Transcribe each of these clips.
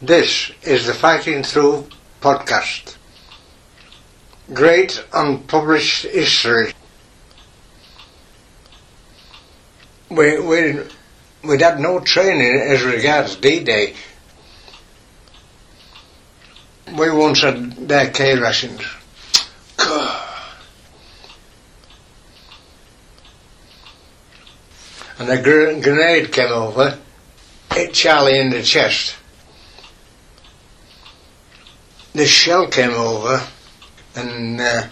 This is the Fighting Through podcast. Great unpublished history. We, we, we'd had no training as regards D-Day. We once had their K lessons. And a gr- grenade came over, hit Charlie in the chest. The shell came over, and uh,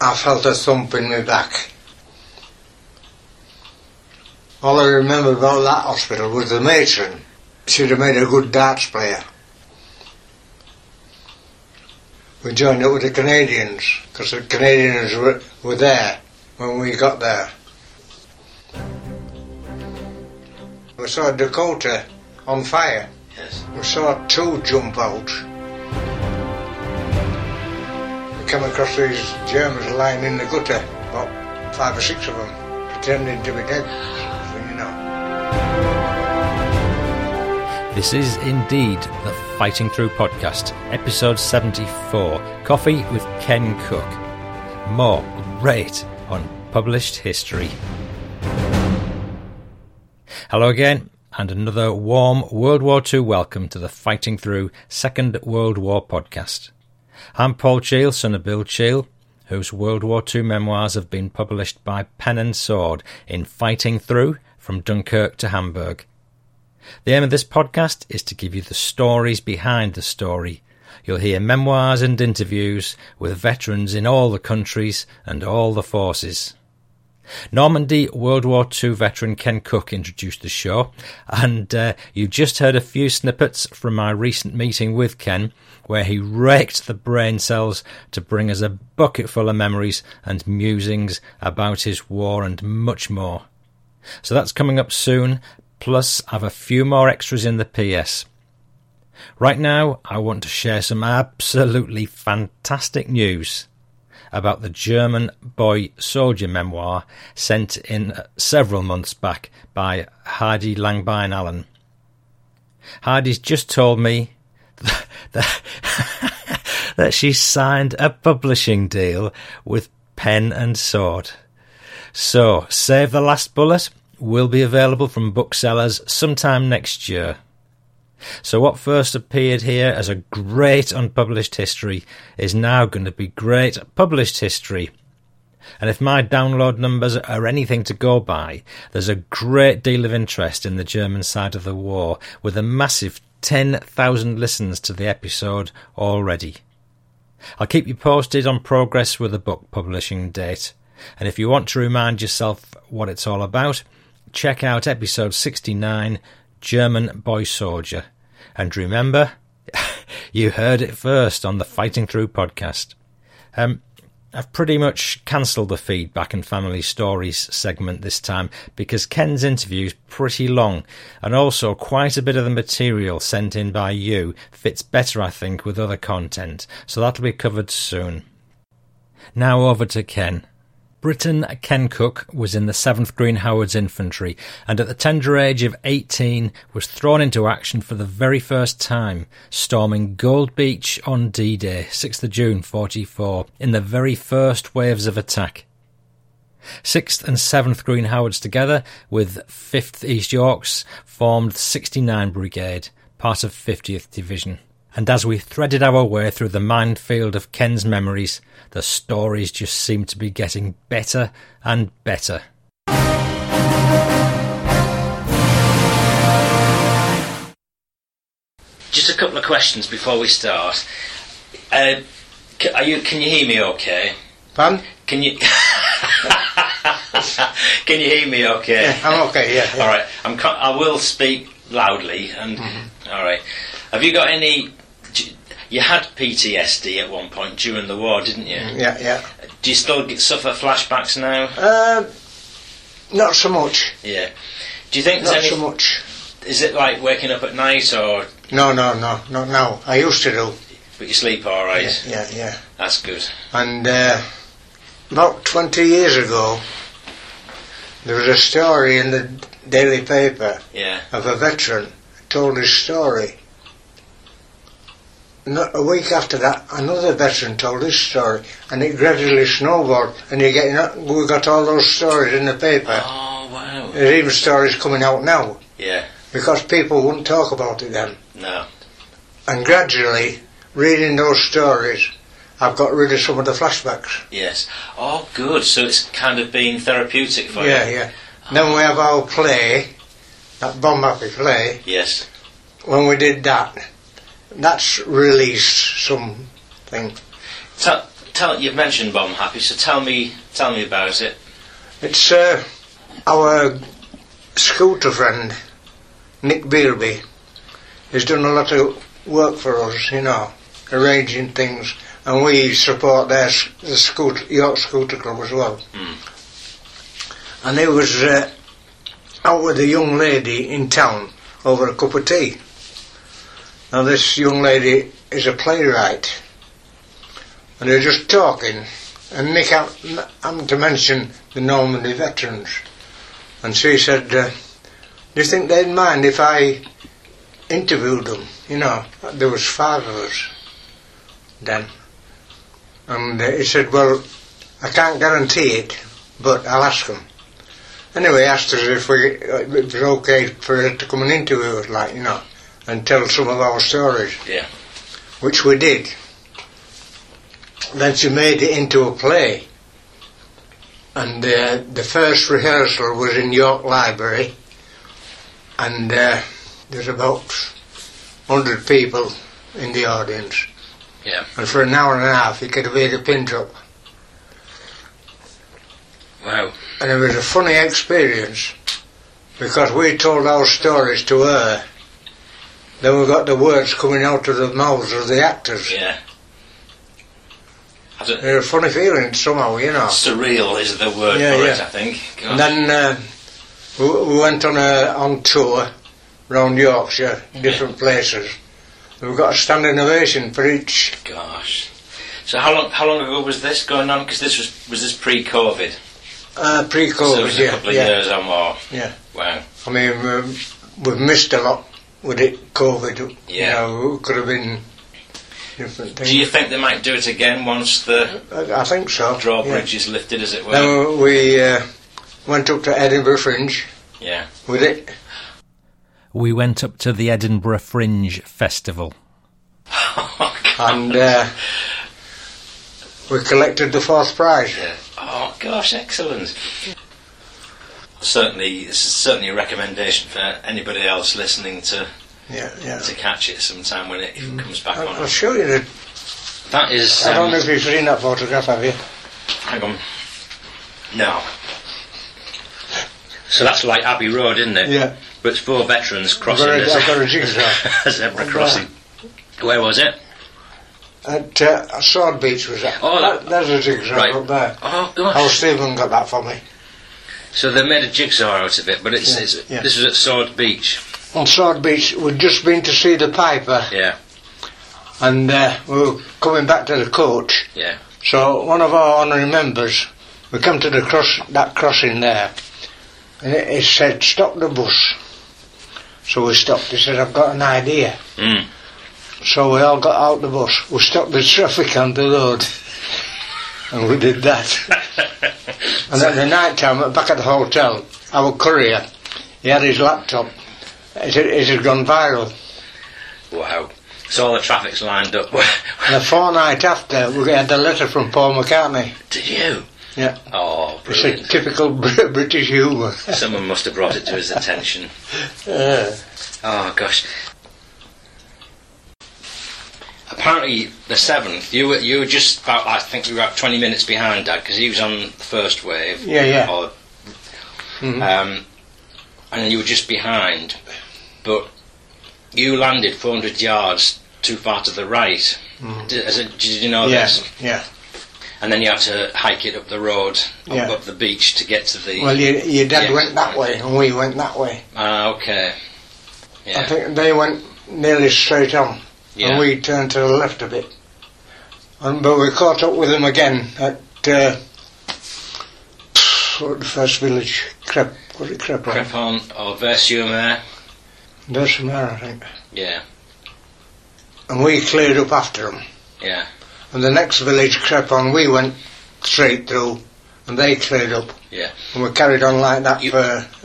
I felt a thump in my back. All I remember about that hospital was the matron. She'd have made a good darts player. We joined up with the Canadians, because the Canadians were, were there when we got there. We saw Dakota on fire. Yes. We saw two jump out. We come across these Germans lying in the gutter, about five or six of them, pretending to be dead. You know. This is indeed the Fighting Through Podcast, episode 74 Coffee with Ken Cook. More great unpublished history. Hello again, and another warm World War II welcome to the Fighting Through Second World War Podcast. I'm Paul Cheel, son of Bill Cheel, whose World War II memoirs have been published by Pen and Sword in Fighting Through from Dunkirk to Hamburg. The aim of this podcast is to give you the stories behind the story. You'll hear memoirs and interviews with veterans in all the countries and all the forces. Normandy World War II veteran Ken Cook introduced the show, and uh, you just heard a few snippets from my recent meeting with Ken, where he raked the brain cells to bring us a bucketful of memories and musings about his war and much more. So that's coming up soon. Plus, I've a few more extras in the PS. Right now, I want to share some absolutely fantastic news about the German boy soldier memoir sent in several months back by Hardy Langbein Allen. Hardy's just told me that, that she signed a publishing deal with Pen and Sword. So, Save the Last Bullet will be available from booksellers sometime next year. So, what first appeared here as a great unpublished history is now going to be great published history. And if my download numbers are anything to go by, there's a great deal of interest in the German side of the war, with a massive 10,000 listens to the episode already. I'll keep you posted on progress with the book publishing date. And if you want to remind yourself what it's all about, check out episode 69 German Boy Soldier. And remember, you heard it first on the Fighting Through podcast. Um, I've pretty much cancelled the feedback and family stories segment this time because Ken's interview's pretty long and also quite a bit of the material sent in by you fits better, I think, with other content. So that'll be covered soon. Now over to Ken. Briton Ken Cook was in the 7th Green Howards Infantry and at the tender age of 18 was thrown into action for the very first time, storming Gold Beach on D-Day, 6th of June 44, in the very first waves of attack. 6th and 7th Green Howards together with 5th East Yorks formed 69 Brigade, part of 50th Division. And as we threaded our way through the minefield of Ken's memories, the stories just seemed to be getting better and better. Just a couple of questions before we start. Uh, c- are you? Can you hear me? Okay. Pardon? Can you? can you hear me? Okay. Yeah, I'm Oh, okay, yeah. yeah. All right. I'm. co- I will speak loudly. And Mm-hmm. all right. Have you got any? d- You had PTSD at one point during the war, didn't you? Yeah, yeah. Do you still get, suffer flashbacks now? Uh, not so much. Yeah. Do you think Not there's so any? much. Is it like waking up at night, or No, no, no, not now. I used to do. but you sleep all right? Yeah, yeah. yeah. That's good. And uh, about 20 years ago, there was a story in the daily paper Yeah. of a veteran told his story. Not a week after that, another veteran told his story, and it gradually snowballed. And you're getting we got all those stories in the paper. Oh, wow. There's even stories coming out now Yeah, because people wouldn't talk about it then. no. And gradually, reading those stories, I've got rid of some of the flashbacks. Yes. Oh, good. So it's kind of been therapeutic for Yeah, you. yeah. Then we have our play, that bomb happy play. Yes. When we did that, that's released something. Tell, tell, you've mentioned Bomb Happy, so tell me, tell me about it. It's uh, our scooter friend, Nick Beerby. He's done a lot of work for us, you know, arranging things, and we support their s- the scooter, York Scooter Club as well. And he was uh, out with a young lady in town over a cup of tea. Now this young lady is a playwright, and they're just talking, and Nick ha- m- happened to mention the Normandy veterans, and she said, uh, "Do you think they'd mind if I interviewed them?" You know, there was five of us then, and uh, he said, "Well, I can't guarantee it, but I'll ask them." Anyway, he asked us if we uh, if it was okay for her to come and interview us, like you know, and tell some of our stories Yeah. which we did. Then she made it into a play. And uh, the first rehearsal was in York Library, and uh, there's about 100 people in the audience. Yeah. And for an hour and a half, you could have made a pin drop. Wow. And it was a funny experience because we told our stories to her. Then we got the words coming out of the mouths of the actors. Yeah. I don't, It was a funny feeling somehow, you know. surreal is the word Yeah, for it, yeah. I think. God. And then uh, we we went on a on tour round Yorkshire, different places. We've got a standing ovation for each. Gosh. So how long how long ago was this going on? Because this was was this pre-COVID. Uh, so it pre-COVID, was a yeah, couple of yeah, years or more. yeah. Wow. I mean, um, we've missed a lot with it, COVID. Yeah. You know, it could have been different things. Do you think they might do it again once the I, I think so. drawbridge is lifted, as it Yeah. were? Then we uh, went up to Edinburgh Fringe Yeah. with it. We went up to the Edinburgh Fringe Festival. And uh, we collected the fourth prize. Oh gosh, excellent. Certainly, this is certainly a recommendation for anybody else listening to, Yeah, yeah. to catch it sometime when it even comes back I'll I'll on. show you the That is. I don't um, know if you've seen that photograph, have you? Hang on. No. So that's like Abbey Road, isn't it? Yeah. But it's four veterans I've crossing got this a- I've got a jigsaw. a zebra crossing. Where was it? At uh, Sword Beach was that. Oh, that- There's a jigsaw right. up there. Oh Oh, gosh! Stephen got that for me. So they made a jigsaw out of it, but it's, Yeah, it's yeah. this was at Sword Beach. On Sword Beach, we'd just been to see the Piper, Yeah, and uh, we were coming back to the coach. yeah, So one of our honorary members, we come to the cross that crossing there, and it, it said, "Stop the bus." So we stopped. He said, "I've got an idea." mm. So we all got out the bus. We stopped the traffic on the road. And we did that. and at the night time, back at the hotel, our courier, he had his laptop. It, had- it had gone viral. wow. So all the traffic's lined up. And a fortnight after, we had a letter from Paul McCartney. Did you? Yeah, Oh, it's a brilliant! typical Br- British humour. Someone must have brought it to his attention. Uh, Oh gosh. Apparently, the seventh. You were you were just about. I think you were about twenty minutes behind Dad because he was on the first wave. Yeah, yeah. Or, Mhm. Um, and you were just behind, but you landed four hundred yards too far to the right. Did, as it, did you know Mm-hmm. yeah, this? yeah. And then you had to hike it up the road, up, Yeah. up the beach to get to the. Well, your, your dad Yeah. went that way and we went that way. Ah, okay. I Yeah. think they went nearly straight on. Yeah. and we turned to the left a bit. And, but we caught up with them again at uh, what the first village, Crep, was it Crep? Crepon or Versum there. There's some there, I think. Yeah. and we cleared up after them. Yeah. And the next village, Crepon, we went straight through, and they cleared up. Yeah. And we carried on like that You- for,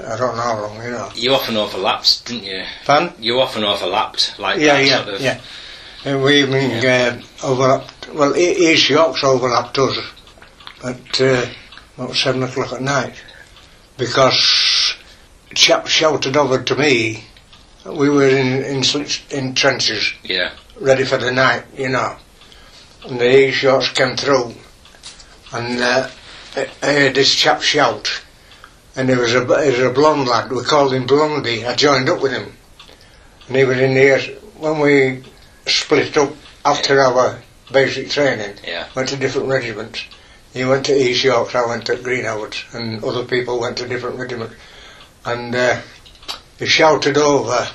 I don't know how long, you know. You often overlapped, didn't you? Fun? You often overlapped like Yeah, that yeah, sort of. yeah. And we even uh, overlapped, well, E- East York's overlapped us at uh, about seven o'clock at night because a chap shouted over to me. We were in, in, such- in trenches. Yeah. ready for the night, you know. And the E shots came through, and uh, I I heard this chap shout, and he was a he was a blonde lad. We called him Blondie. I joined up with him, and he was in there when we split up after our basic training. Yeah. went to different regiments. He went to East Yorks, I went to Greenhowards, and other people went to different regiments. And uh, he shouted over.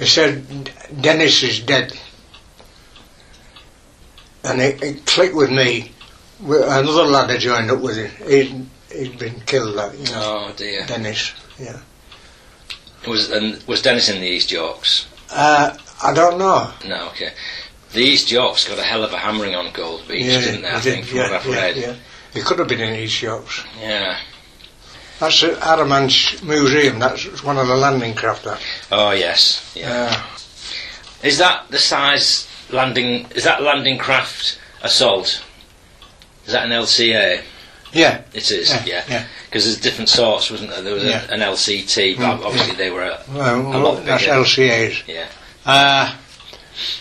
He said, "Dennis is dead." and it, it clicked with me. We- Another lad I joined up with him. He'd, he'd been killed, like, you know, Oh dear. Dennis. Was and was Dennis in the East Yorks? Uh, I don't know. No. Okay. The East Yorks got a hell of a hammering on Gold Beach, didn't they? I he think did, from what I've yeah, read. yeah. He could have been in East Yorks. Yeah. That's at Araman's Museum. That's one of the landing craft. That. Oh yes. Yeah. Uh, Is that the size landing? Is that landing craft assault? Is that an LCA? yeah, It is, Yeah, yeah. Because yeah. there's different sorts, wasn't there? There was a- Yeah. an LCT, but Mm, obviously they were. A, well, A lot that's bigger. LCA's. Yeah. Uh,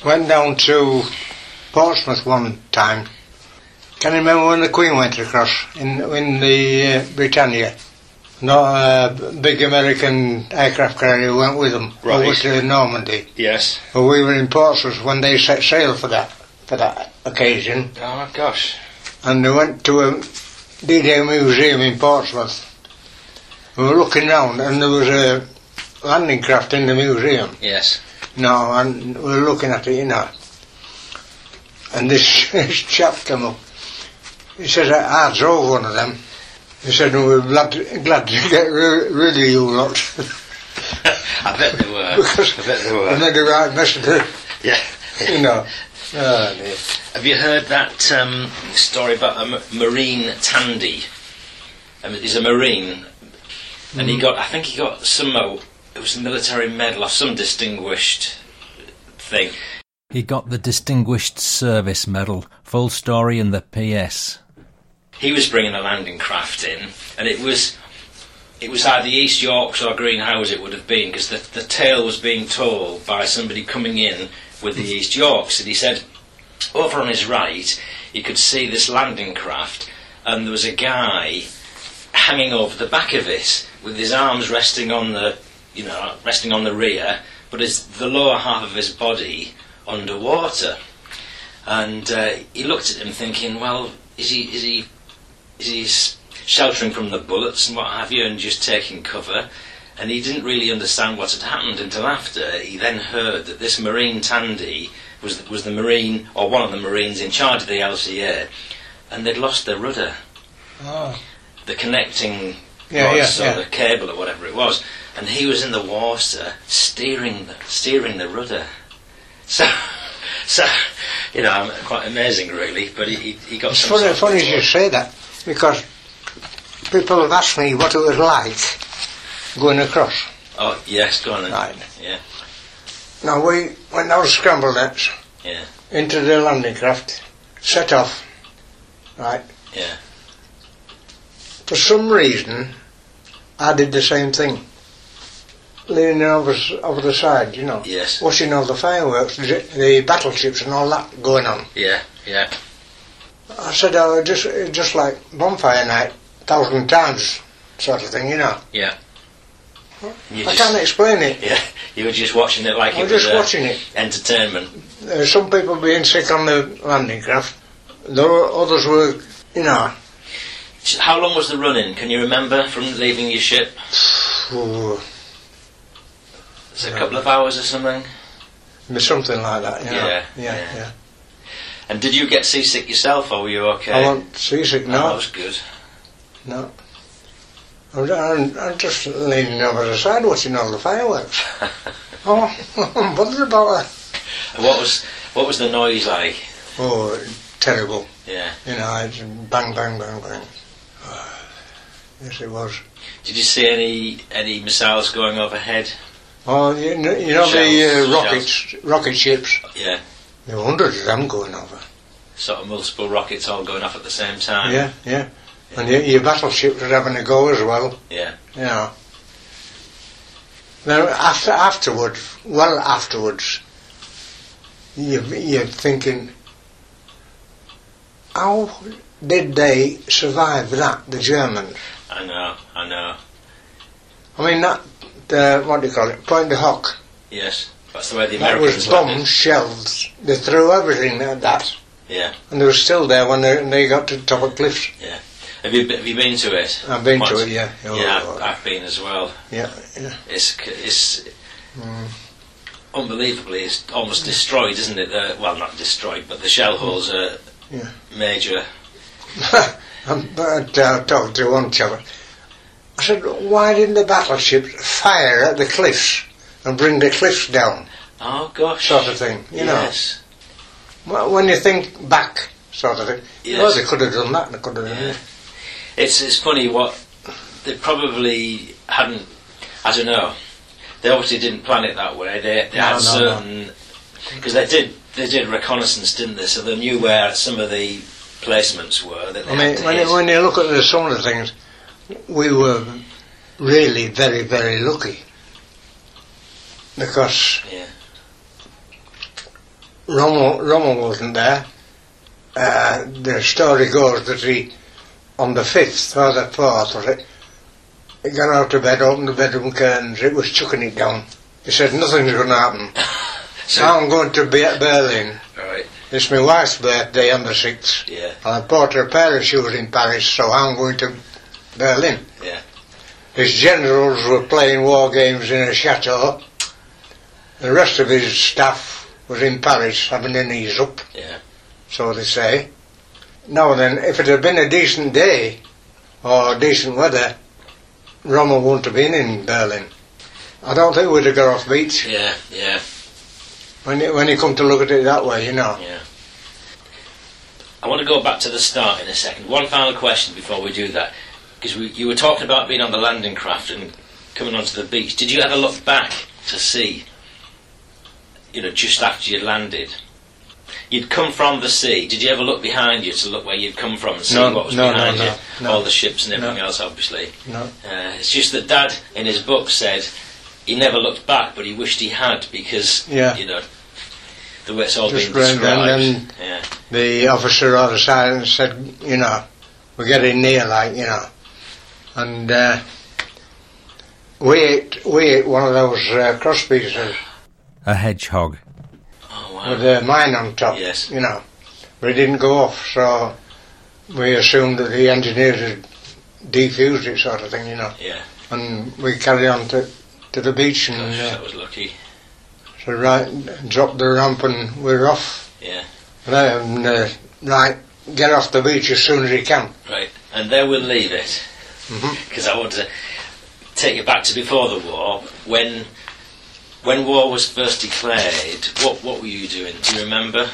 went down to Portsmouth one time. Can you remember when the Queen went across in in the uh, Britannia? No, uh, b- big American aircraft carrier went with them over Right. to Normandy. yes. But we were in Portsmouth when they set sail for that for that occasion, Oh gosh. and they went to a D-Day museum in Portsmouth. We were looking round, and there was a landing craft in the museum. Yes. No, and we we're looking at it, you know. And this, this chap came up. He says, I, I drove one of them. He said, we're glad, glad to get ri- rid of you lot. I bet they were. Because- I bet they and were. then the right messenger, Yeah. you know. Oh, dear. Have you heard that um, story about a m- marine tandy? Um, he's a marine, and Mm. he got. I think he got some. uh, It was a military medal or some distinguished thing. He got the Distinguished Service Medal. Full story in the PS. he was bringing a landing craft in, and it was it was either East Yorks or Greenhouse it would have been because the the tale was being told by somebody coming in with the East Yorks, and he said over on his right you could see this landing craft, and there was a guy hanging over the back of it with his arms resting on the you know resting on the rear, but his the lower half of his body underwater. And uh, he looked at him, thinking, "Well, is he is he is he s- sheltering from the bullets and what have you, and just taking cover. And he didn't really understand what had happened until after he then heard that this Marine Tandy was was the Marine or one of the Marines in charge of the LCA, and they'd lost their rudder, Oh. the connecting Yeah, yeah, rods or yeah. the cable or whatever it was, and he was in the water steering the, steering the rudder. So, so you know, um, quite amazing really. But he he, he got It's some funny, sort of funny reward. you say that, because people have asked me what it was like going across. Oh yes, go on then. Right. Yeah. Now, we went down scramble nets Yeah. into the landing craft, set off, right? Yeah. For some reason, I did the same thing. Leaning over, s- over the side, you know. Yes. Watching all the fireworks, the the battleships and all that going on. Yeah. Yeah. I said, oh, just, just like bonfire night, thousand times, sort of thing, you know. You I can't explain it. yeah, you were just watching it like I'm it was just uh, watching it. entertainment. Uh, some people being sick on the landing craft. There were others were, you know, How long was the run in? Can you remember from leaving your ship? ooh, Was it a No. couple of hours or something? something like that, you know. Yeah, yeah. yeah. yeah. And did you get seasick yourself, or were you okay? I want seasick Oh, that now. was good. No. I'm, I'm, I'm just leaning over the side watching all the fireworks. oh, I'm bothered about that. What was what was the noise like? Oh, terrible. Yeah. You know, it's bang, bang, bang, bang. Yes, it was. Did you see any any missiles going overhead? Oh, you know, you know Shells, the uh, rockets, shells. rocket ships. Yeah. There were hundreds of them going over. Sort of multiple rockets all going off at the same time. Yeah, yeah. And your, your battleships were having a go as well. Yeah. You know. Now, after afterwards, well afterwards, you, you're thinking, how did they survive that? The Germans. I know. I know. I mean, that uh, what do you call it? Point de hoc. Yes. That's the way the That Americans was landed. bombs, shells. They threw everything at that. Yeah. And they were still there when they, they got to the top of cliffs. Have you have you been to it? I've been Once? to it, yeah. Oh, yeah, I've, I've been as well. yeah, yeah. It's c- it's Mm. unbelievably it's almost destroyed, isn't it? The, well, not destroyed, but the shell holes are Yeah. major. Um, but uh, I talked to one chap. I said, why didn't the battleships fire at the cliffs and bring the cliffs down, Oh gosh. sort of thing? You yes. know, Well, when you think back, sort of thing. Yes. Well, they could have done that. They could have done Yeah. that. It's it's funny what they probably hadn't. I don't know. They obviously didn't plan it that way. They they No, no, no. had certain because they did they did reconnaissance, didn't they? So they knew where some of the placements were. That they I had to mean, when hit. you, when you look at the, some of the things, we were really very, very lucky. Because Yeah. Rommel, Rommel wasn't there. Uh, the story goes that he, on the 5th or the 4th, was it, he got out of bed, opened the bedroom curtains, it was chucking it down. He said, nothing's going to happen. So- Now I'm going to be at Berlin. all right. It's my wife's birthday on the 6th. Yeah. I bought her a pair of shoes in Paris, so I'm going to Berlin. Yeah. His generals were playing war games in a chateau. The rest of his staff was in Paris having their knees up, Yeah. so they say. Now then, if it had been a decent day or decent weather, Rommel wouldn't have been in Berlin. I don't think we'd have got off beat Yeah. Yeah. when you, when you come to look at it that way, you know. Yeah. I want to go back to the start in a second. One final question before we do that, because we, you were talking about being on the landing craft and coming onto the beach. Did you ever look back to see, you know, just after you'd landed? You'd come from the sea. Did you ever look behind you to look where you'd come from and see No, what was no, no, behind no, you? no. All the ships and everything No. else, obviously. No. Uh, it's just that Dad, in his book, said he never looked back, but he wished he had because, Yeah. you know, the way it's all Just been round described. and yeah. the officer on the side and said, you know, we're getting near, like, you know. And uh, we ate, we ate one of those uh, cross pieces A hedgehog. Oh with wow! a mine on top, Yes. you know. But it didn't go off, so we assumed that the engineers had defused it, sort of thing, you know. Yeah, And we carried on to, to the beach and gosh, uh, that was lucky. so right, dropped the ramp and we're off. Yeah. And, uh, right, get off the beach as soon as you can. Right, and there we'll leave it Mhm. because I want to take you back to before the war when when war was first declared. What what were you doing? Do you remember?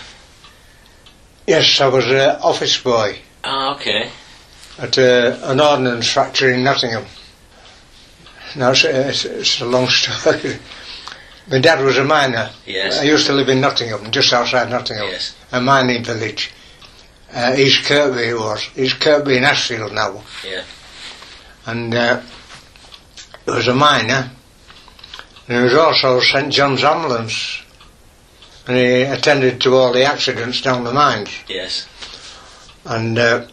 Yes, I was an office boy Ah, okay. at uh, an ordnance factory in Nottingham. Now, it's, uh, it's, it's a long story. My dad was a miner. I Yes. used to live in Nottingham, just outside Nottingham, Yes. a mining village. Uh, East Kirkby it was. East Kirkby in Ashfield now. Yeah. And uh, he was a miner. And he was also St John's Ambulance. And he attended to all the accidents down the mines. Yes. And uh,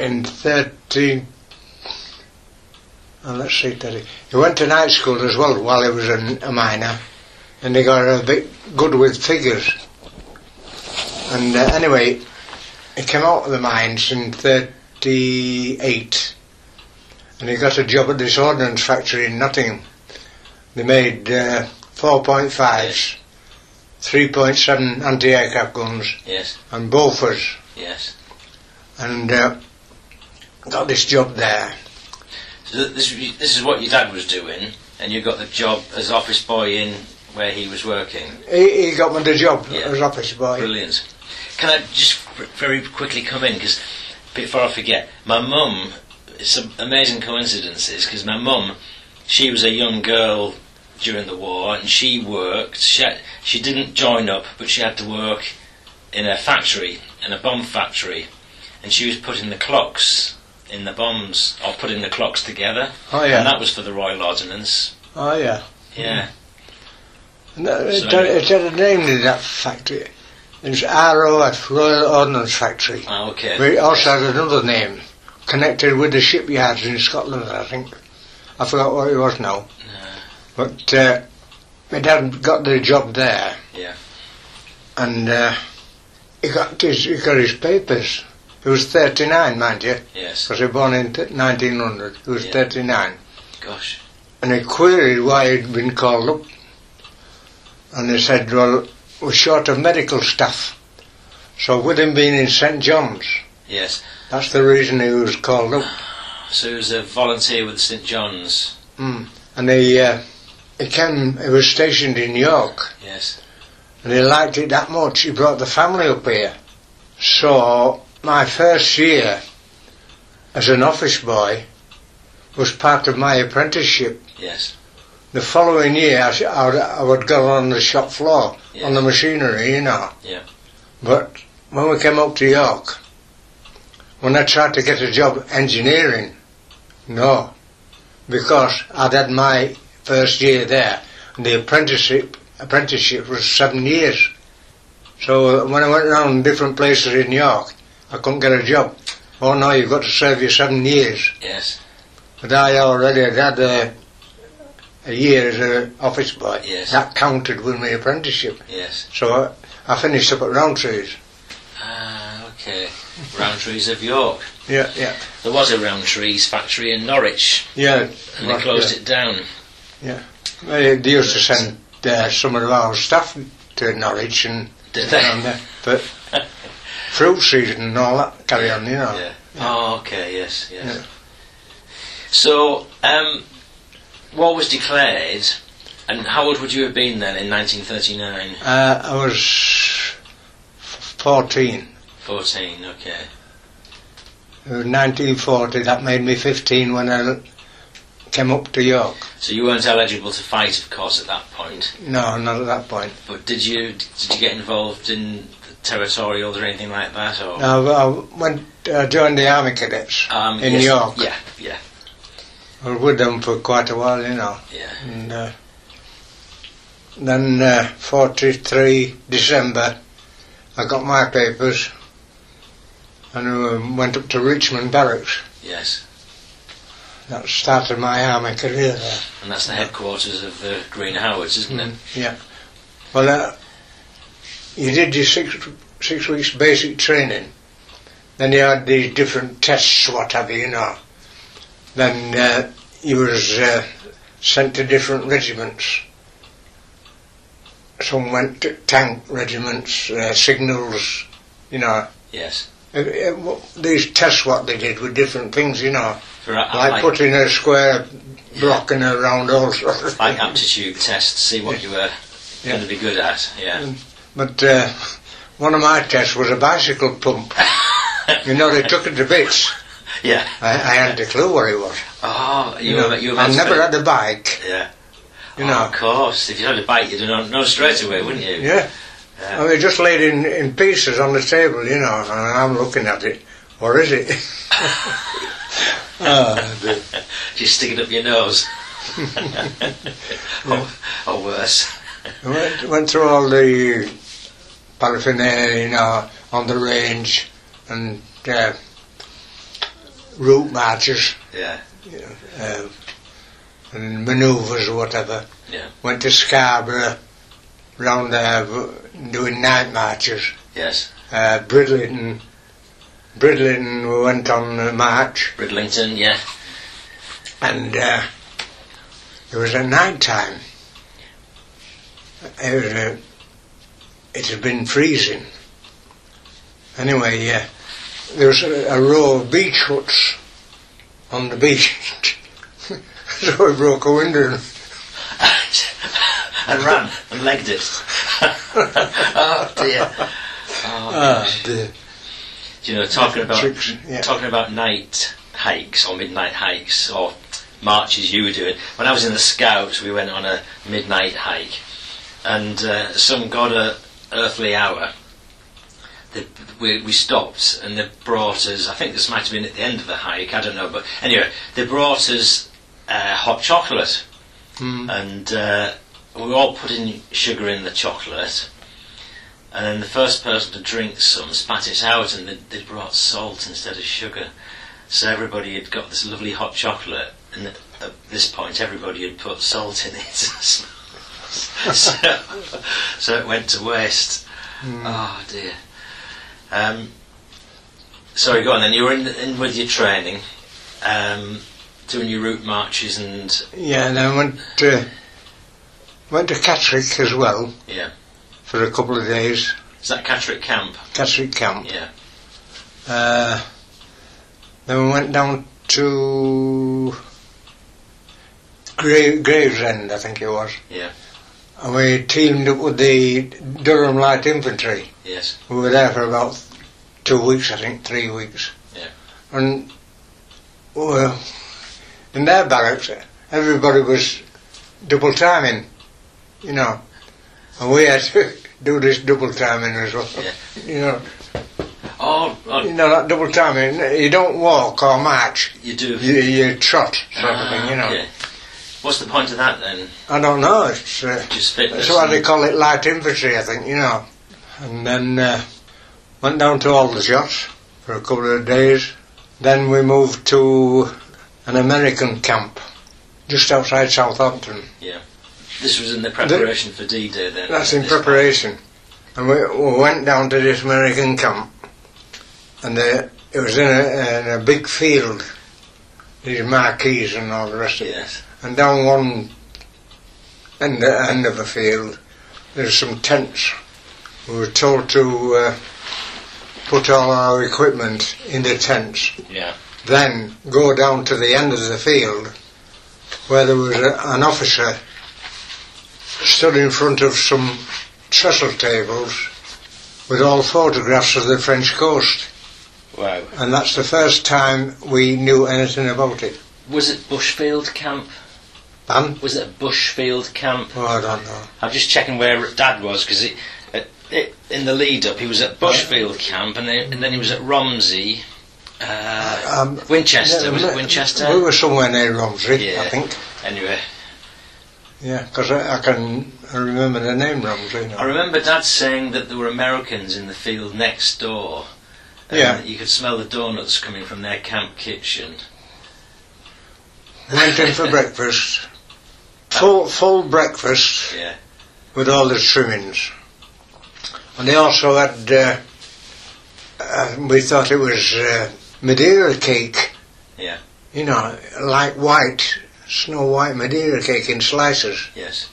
in 13, oh, let's see, 30, he went to night school as well while he was an, a minor, and he got a bit good with figures. And uh, anyway, he came out of the mines in 38, and he got a job at this ordnance factory in Nottingham. They made uh, 4.5s, 3.7 anti-aircraft guns, Yes. and Bofors Yes. and uh, got this job there. So th- this was- this is what your dad was doing, and you got the job as office boy in where he was working. He, he got me the job Yeah. as office boy. Brilliant. Can I just v- very quickly come in because before I forget, my mum. It's some amazing coincidences because my mum, she was a young girl during the war and she worked. She had, she didn't join up, but she had to work in a factory, in a bomb factory, and she was putting the clocks in the bombs or putting the clocks together, Oh and yeah, that was for the Royal Ordnance. oh yeah. Yeah, No, it, So- had, it had a name in that factory. It was ROF, Royal Ordnance Factory. ah, okay. We also had another name connected with the shipyards in Scotland, I think. I forgot what it was now. But uh, my dad got the job there. Yeah. And uh, he, got his, he got his papers. He was 39, mind you, Yes. because he was born in t- 1900. He was Yeah. 39. Gosh. And he queried why he'd been called up. And they said, well, we're short of medical staff. So with him being in St John's, Yes. that's the reason he was called up. So he was a volunteer with St John's. Mm. And he, uh, he came, he was stationed in York. Yes. And he liked it that much, he brought the family up here. So my first year as an office boy was part of my apprenticeship. Yes. The following year, I, sh- I, would, I would go on the shop floor, Yeah. on the machinery, you know. Yeah. But when we came up to York, when I tried to get a job engineering, no, because I'd had my first year there, and the apprenticeship apprenticeship was seven years. So uh, when I went around different places in York, I couldn't get a job. Oh no, you've got to serve your seven years. Yes. But I already had had a, a year as an office boy. Yes. That counted with my apprenticeship. Yes. So I, I finished up at Roundtree's. Ah, okay. Roundtrees of York. Yeah, yeah. There was a Roundtrees factory in Norwich, Yeah. and they closed it down. yeah. They, they used to send uh, some of our staff to Norwich and Did down they? there. But fruit season and all that carry on, you know. Yeah. Oh, okay. Yes. Yes. So, um, war was declared, and how old would you have been then in 1939? Uh, I was 14. 14. Okay. It was 1940. That made me 15 when I came up to York. So you weren't eligible to fight, of course, at that point. No, not at that point. But did you did you get involved in the territorials or anything like that? Or No, I went uh, joined the army cadets. Um, In yes, York. Yeah, yeah, I was with them for quite a while, you know. yeah. And uh, then uh, 43 December, I got my papers and uh, went up to Richmond Barracks. Yes, That started my army career there. and that's the headquarters of the Green Howards, isn't it? Yeah. Well, uh, you did your six six weeks basic training. Then you had these different tests, what have you, you know. Then uh, you was uh, sent to different regiments. Some went to tank regiments, uh, signals, you know. Yes. Uh, uh, w- these tests, what they did, were different things, you know. For a, Like, like, putting a square block in a round hole. sort of like thing. aptitude tests, see what you were Yeah. Hmm. going to be good at. Yeah. But uh, one of my tests was a bicycle pump. you know, they took it to bits. Yeah. I, I hadn't a clue where it was. Oh, you, You were know, you were I meant to never be- had a bike, Yeah. you Oh, know. of course. If you had a bike, you'd know, know straight away, wouldn't you? Yeah. Yeah. I mean, just laid in, in pieces on the table, you know, and I'm looking at it. Or is it? oh, dear. Just stick it up your nose. or, or worse. I went, went through all the paraphernalia, you know, on the range and uh, route marches. Yeah. uh, and manoeuvres or whatever. Yeah. Went to Scarborough, round there v- doing night marches. Yes. Uh, Bridlington, Bridlington we went on a march Bridlington. Yeah. and uh, it was at night time. It, was, uh, it had been freezing. Anyway, uh, there was a, a row of beach huts on the beach. so I broke a window and ran and legged it. oh dear. Oh, Ah, dear. Do you know, talking about Tricks, yeah. talking about night hikes or midnight hikes or marches you were doing. When I was in the Scouts, we went on a midnight hike, and uh, some got a earthly hour. They, we, we stopped and they brought us. I think this might have been at the end of the hike. I don't know, but anyway, they brought us uh, hot chocolate, and uh, we all put in sugar in the chocolate. And then the first person to drink some spat it out, and they, they brought salt instead of sugar. So everybody had got this lovely hot chocolate, and at, at this point, everybody had put salt in it. so, so it went to waste. Oh dear. Um, sorry, go on then. You were in, in with your training, um, doing your route marches, and Yeah, and I went to, went to Catterick as well yeah. for a couple of days, Is that Catterick Camp? Catterick Camp. Yeah. Uh, then we went down to Gra- Gravesend, I think it was. Yeah. And we teamed up with the Durham Light Infantry. Yes. We were there for about two weeks, I think, three weeks. Yeah. And well, in their barracks, everybody was double timing, you know, and we had to do this double timing as well. Yeah. You know, Oh, you oh know that double timing. You don't walk or march. you do. You, you trot, sort of thing. You know. Ah, Yeah. What's the point of that then? I don't know. It's uh, Just fitness. That's why and- they call it light infantry, I think, you know. And then uh, went down to Aldershot for a couple of days. Then we moved to an American camp just outside Southampton. This was in the preparation for D-Day then. That's in This- preparation. And we, we went down to this American camp, and the, it was in a, in a big field, these marquees and all the rest of it. Yes. And down one end, end of the field, there's some tents. We were told to uh, put all our equipment in the tents, Yeah. then go down to the end of the field where there was a, an officer stood in front of some trestle tables with all photographs of the French coast. Wow. And that's the first time we knew anything about it. Was it Bushfield Camp? And, Was it Bushfield Camp? oh, I don't know. I'm just checking where Dad was because it, it, it, in the lead up he was at Bushfield Camp and then, and then he was at Romsey, uh, Um, Winchester. Yeah, was we- it Winchester? We were somewhere near Romsey, I Yeah. think. Anyway, Yeah, because I, I can remember the name Romsey. Now. I remember Dad saying that there were Americans in the field next door. and Yeah. that You could smell the donuts coming from their camp kitchen. We Went in for breakfast. Full, full breakfast Yeah. with all the trimmings. And they also had, uh, uh, we thought it was uh, Madeira cake. Yeah. You know, like white, snow white Madeira cake in slices. Yes.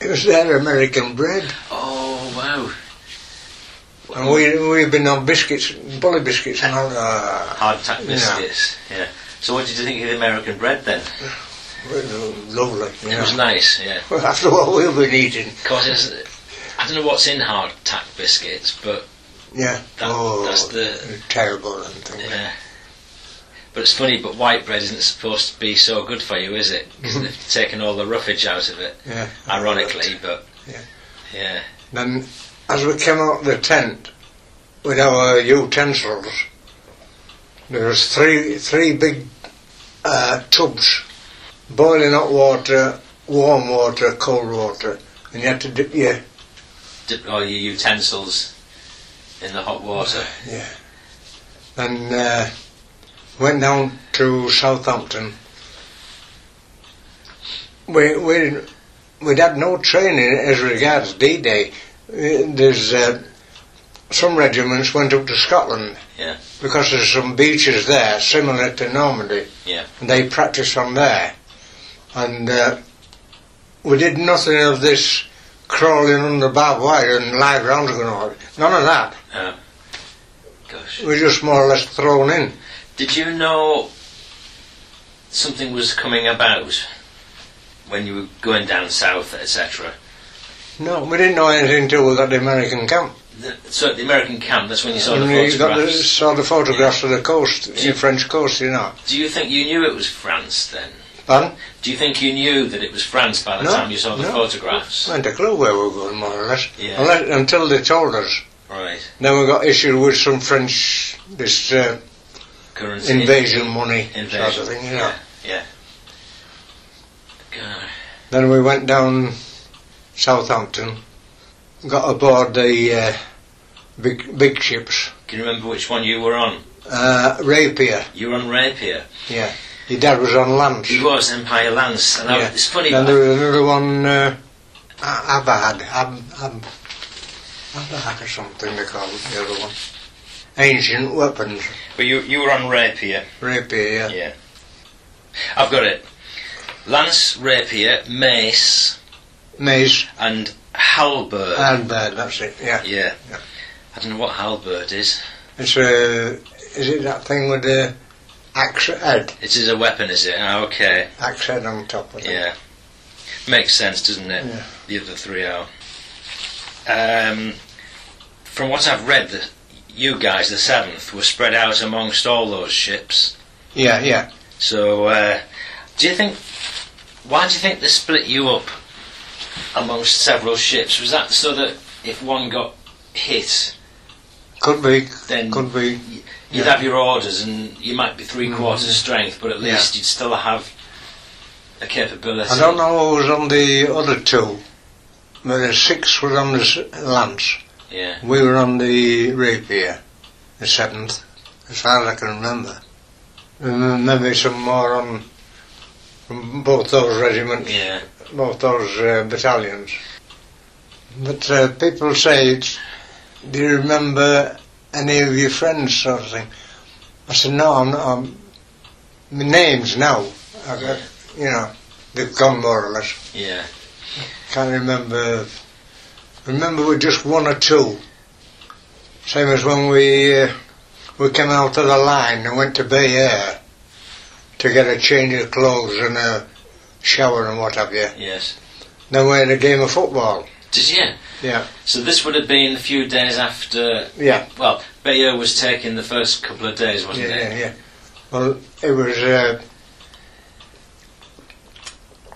It was their American bread. Oh wow! And we, we've been on biscuits, bully biscuits and all uh, Hard tack Yeah. biscuits. Yeah. So what did you think of the American bread then? Lovely. It was Yeah. nice. Yeah. After what we've been eating. Cause it's, I don't know what's in hard tack biscuits, but Yeah. That- oh, that's the- terrible and things. yeah. But it's funny. But white bread isn't supposed to be so good for you, is it? 'Cause they've taken all the roughage out of it, Mm-hmm. Yeah. ironically. But Yeah. yeah, Then, as we came out the tent with our utensils, there was three three big uh, tubs, boiling hot water, warm water, cold water, and you had to dip your dip all your utensils in the hot water. yeah. Then uh, went down to Southampton. We we we'd had no training as regards D-Day. Uh, There's uh, some regiments went up to Scotland. Yeah. Because there's some beaches there similar to Normandy. Yeah. And they practiced on there. And uh, we did nothing of this crawling under barbed wire and live rounds going on. None of that. Gosh. We were just more or less thrown in. Did you know something was coming about? when you were going down south, etc. No, we didn't know anything until we got the American camp. The- So at the American camp, that's when you saw the and we Mm, got the, photographs. saw the photographs of the coast, Yeah. the French coast, you know. Do you think you knew it was France then? Pardon? Do you think you knew that it was France by the No, time you saw the no. photographs? Not a clue where we were going, more or less. Yeah. Unless, until they told us. Right. Then we got issued with some French, this uh, Currency. invasion money sort Invasion. of thing, you know. Yeah. God. Then we went down Southampton, got aboard the uh, big big ships, Can you remember which one you were on? uh, Rapier. You were on Rapier. Yeah, your dad was on Lance. He was Empire Lance. And I- Yeah. it's funny. Then but there was another one, uh, A- Abad, Ab, Ab, Abad or something they call it, the other one. Ancient weapons, but you, you were on Rapier. Rapier. Yeah. Yeah. I've got it. Lance, Rapier, Mace, Mace, and Halberd. and bad. That's it. Yeah. yeah. Yeah. I don't know what Halberd is. It's a. Is it that thing with the axe head? It is a weapon, is it? Ah, okay. Axe head on top of it. Yeah. Makes sense, doesn't it? Yeah. The other three are. Um, from what I've read, the, you guys, the seventh, were spread out amongst all those ships. Yeah. Yeah. So, uh, do you think? Why do you think they split you up amongst several ships? Was that so that if one got hit, Could be. Then- could be. you'd Yeah. Mm. have your orders and you might be three quarters strength, but at Yeah. least you'd still have a capability. I don't know who was on the other two. But the six was on the s- Lance. Yeah. We were on the Rapier, the seventh, as far as I can remember. And then maybe some more on from both those regiments, Yeah. both those uh, battalions. But uh, people say, it's, do you remember any of your friends, sort of thing? I said, no, I'm not. I'm, my names now. I got, you know, they've gone more or less. Yeah. Can't remember. Remember, we just one or two. Same as when we uh, we came out of the line and went to Bay Air to get a change of clothes and a shower and what have you. Yes. Then we had a game of football. Did you? Yeah. So this would have been a few days after. Yeah. Well, Bayer was taken the first couple of days, wasn't Yeah. it? Yeah. yeah. Well, it was uh,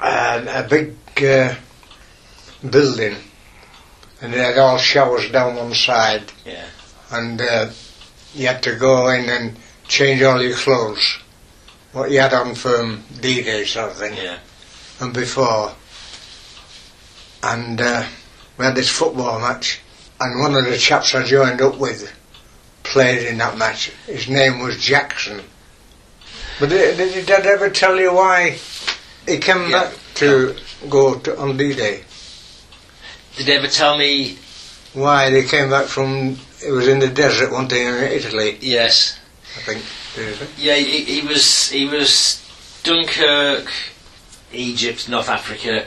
a, a big uh, building, and they had all showers down one side. Yeah. and uh, you had to go in and change all your clothes, what you had on from D-Day sort of thing, Yeah. and before. And uh, we had this football match, and one of the chaps I joined up with played in that match. His name was Jackson. But did, did your dad ever tell you why he came Yeah. back to go to, on D-Day? Did they ever tell me? Why they came back from? It was in the desert one day in Italy, Yes. I think. Did it? Yeah. He, he was. He was Dunkirk, Egypt, North Africa,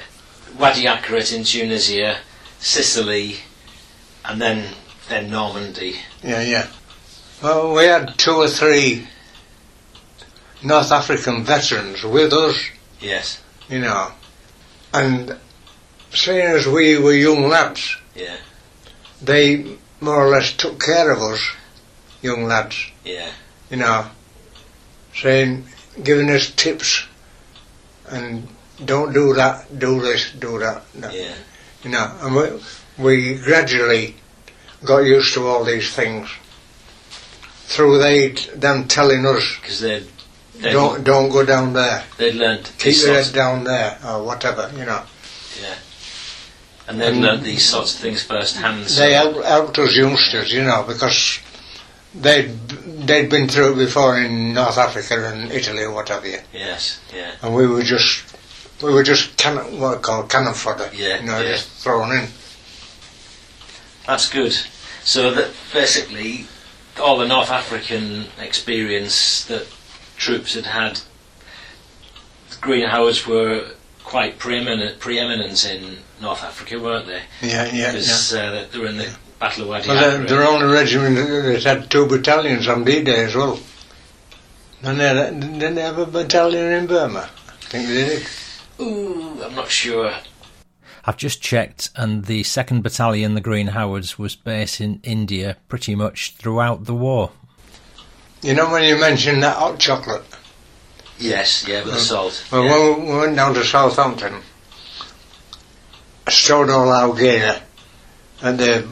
Wadi Akarit in Tunisia, Sicily, and then then Normandy. Yeah, yeah. Well, we had two or three North African veterans with us, Yes. you know, and seeing as we were young lads, Yeah. they more or less took care of us, young lads, Yeah. you know, saying, giving us tips and don't do that, do this, do that, that Yeah. you know, and we, we gradually got used to all these things through they them telling us Because they'd they'd, don't don't go down there, they'd learned keep these your sorts, head down there or whatever, you know. and they'd Mm. learned these sorts of things first hand. so- They helped, helped us youngsters, you know, because they they'd been through it before in North Africa and Italy or what have you, Yes. Yeah. and we were just we were just cannon what I call cannon fodder, Yeah, you know, yeah. just thrown in. That's good. So that basically, all the North African experience that troops had had, Green Howards were quite preeminent, preeminent in North Africa, weren't they? Yeah, yeah. yeah. Because uh, they- they were in the Battle of Wadi Well, Agra. their, their own regiment that had two battalions on D-Day as well. And they didn't they have a battalion in Burma. I think they did. Ooh, I'm not sure. I've just checked, and the 2nd Battalion, the Green Howards, was based in India pretty much throughout the war. You know when you mentioned that hot chocolate? Yes, yeah, with the salt. Uh, Well, yeah. when we went down to Southampton, I stowed all our gear at the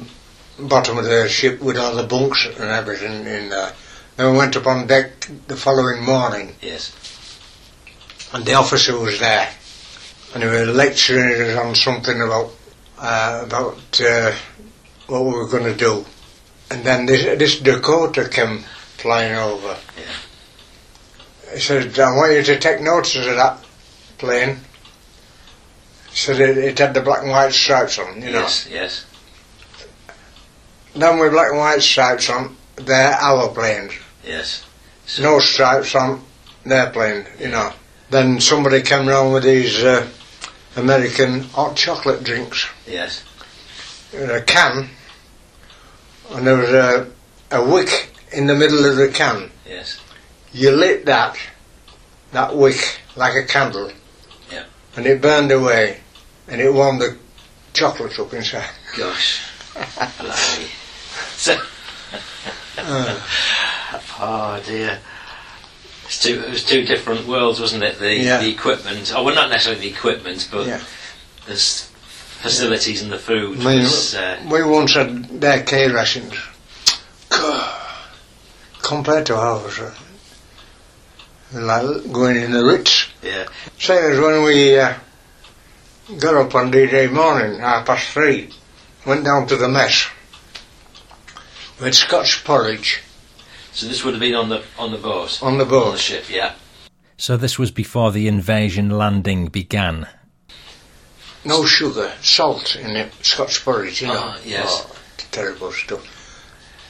bottom of the ship with all the bunks and everything in there. Then we went up on deck the following morning, Yes. and the officer was there, and he was lecturing us on something about uh, about uh, what we were going to do. And then this, this Dakota came flying over. He said, "I want you to take notice of that plane." He said it, it had the black and white stripes on, you know. Yes, yes. Then with black and white stripes on, they're our planes. Yes. So, No stripes on their plane, you know. Then somebody came round with these uh, American hot chocolate drinks Yes. in a can, and there was a, a wick in the middle of the can. Yes. You lit that, that wick, like a candle, Yeah. and it burned away, and it warmed the chocolates up inside. Gosh. Blimey. So, oh dear. It's two, it was two different worlds, wasn't it? The, Yeah. the equipment. Oh, well, not necessarily the equipment, but Yeah. there's facilities and the food. I mean, was, uh, we once had their K rations. God, Compared to ours, uh, like going in the Ritz. yeah. Same as when we uh, got up on D-Day morning, half past three, went down to the mess. We had Scotch porridge So this would have been on the on the boat, on the on the boat. ship. Yeah. So this was before the invasion landing began. No sugar, salt in it, Scotch porridge, you know. Ah, yes. Oh, terrible stuff.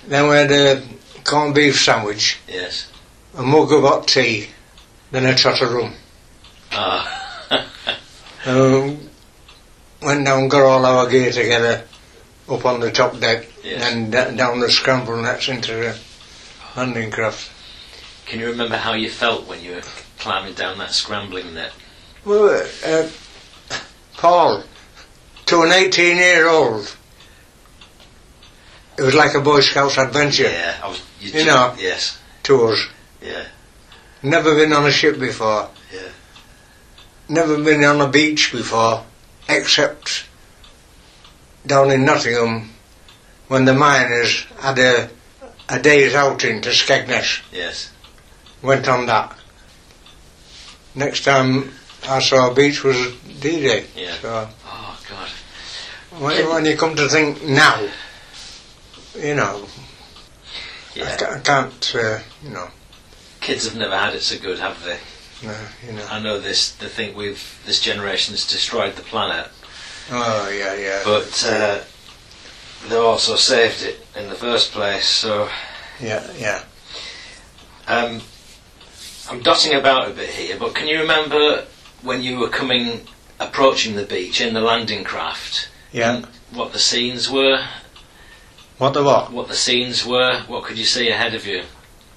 Then we had a corned beef sandwich, Yes. a mug of hot tea, then a tot of rum. Ah. Um, went down, got all our gear together up on the top deck, Yes. and then da- down the scramble nets into the landing craft. Can you remember how you felt when you were climbing down that scrambling net? Well, uh, Paul, to an 18 year old, it was like a Boy Scouts adventure Yeah. I was. You, You know. Yes. to us. Yeah. Never been on a ship before. Yeah. Never been on a beach before, except down in Nottingham when the miners had a, a day's outing to Skegness. Yes. went on that. Next time I saw a beach was D-Day. Yeah. So Oh God. when, when you come to think now, you know, I Yeah. ca- I can't, uh, you know, Kids have never had it so good, have they? no, you know. I know this. The thing we've this generation's destroyed the planet, Oh yeah, yeah, but uh, they also saved it in the first place. So yeah, yeah. um, I'm dotting about a bit here, but can you remember when you were coming, approaching the beach in the landing craft? Yeah. And What the scenes were? What the what? What the scenes were? What could you see ahead of you?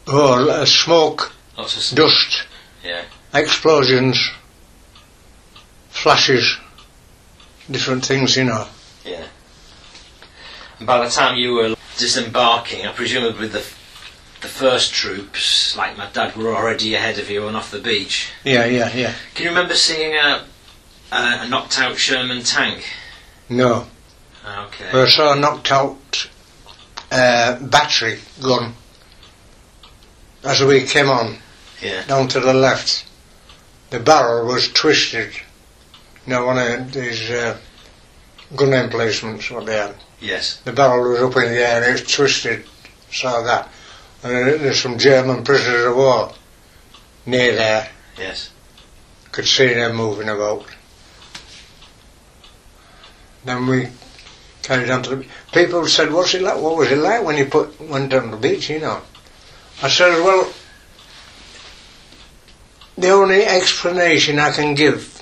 Oh, l- uh, smoke, Lots of s- dust, Yeah. explosions, flashes, different things, you know. Yeah. And by the time you were disembarking, I presumably the the first troops, like my dad, were already ahead of you and off the beach. Yeah, yeah, yeah. Can you remember seeing a a, a knocked out Sherman tank? No, Okay. we saw a knocked out uh, battery gun as we came on Yeah. down to the left. The barrel was twisted. You know, one of these uh, gun emplacements, what they had. Yes. The barrel was up in the air, it was twisted, saw that. And there- there's some German prisoners of war near there, Yes. could see them moving about. Then we carried on to the people said, "What's it like? What was it like when you put went down the beach?" You know, I said, "Well, the only explanation I can give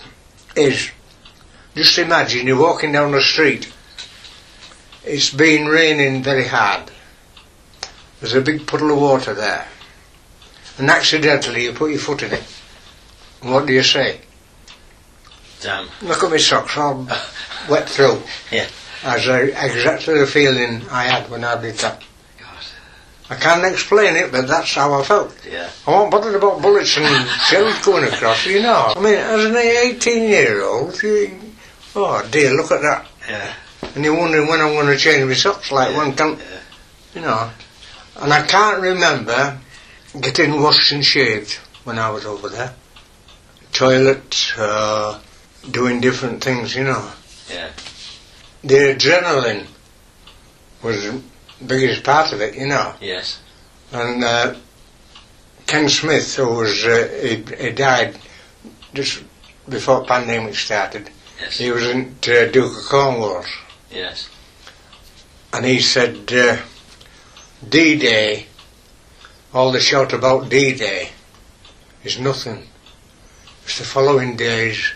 is just imagine you're walking down the street. It's been raining very hard. There's a big puddle of water there, and accidentally you put your foot in it. What do you say?" damn. Look at my socks, all wet through. Yeah. That's uh, exactly the feeling I had when I did that. God. I can't explain it, but that's how I felt. Yeah. I wasn't bothered about bullets and shells going across, you know. I mean, as an 18 year old, you, oh dear, look at that. Yeah. And you're wondering when I'm going to change my socks, like one can, Yeah. you know. And I can't remember getting washed and shaved when I was over there. Toilets, uh, doing different things, you know. Yeah. The adrenaline was the biggest part of it, you know. Yes. And uh, Ken Smith, who was uh, he, he died just before pandemic started. Yes. He was in uh, Duke of Cornwall, Yes. and he said uh, D-Day. All the shout about D-Day is nothing. It's the following days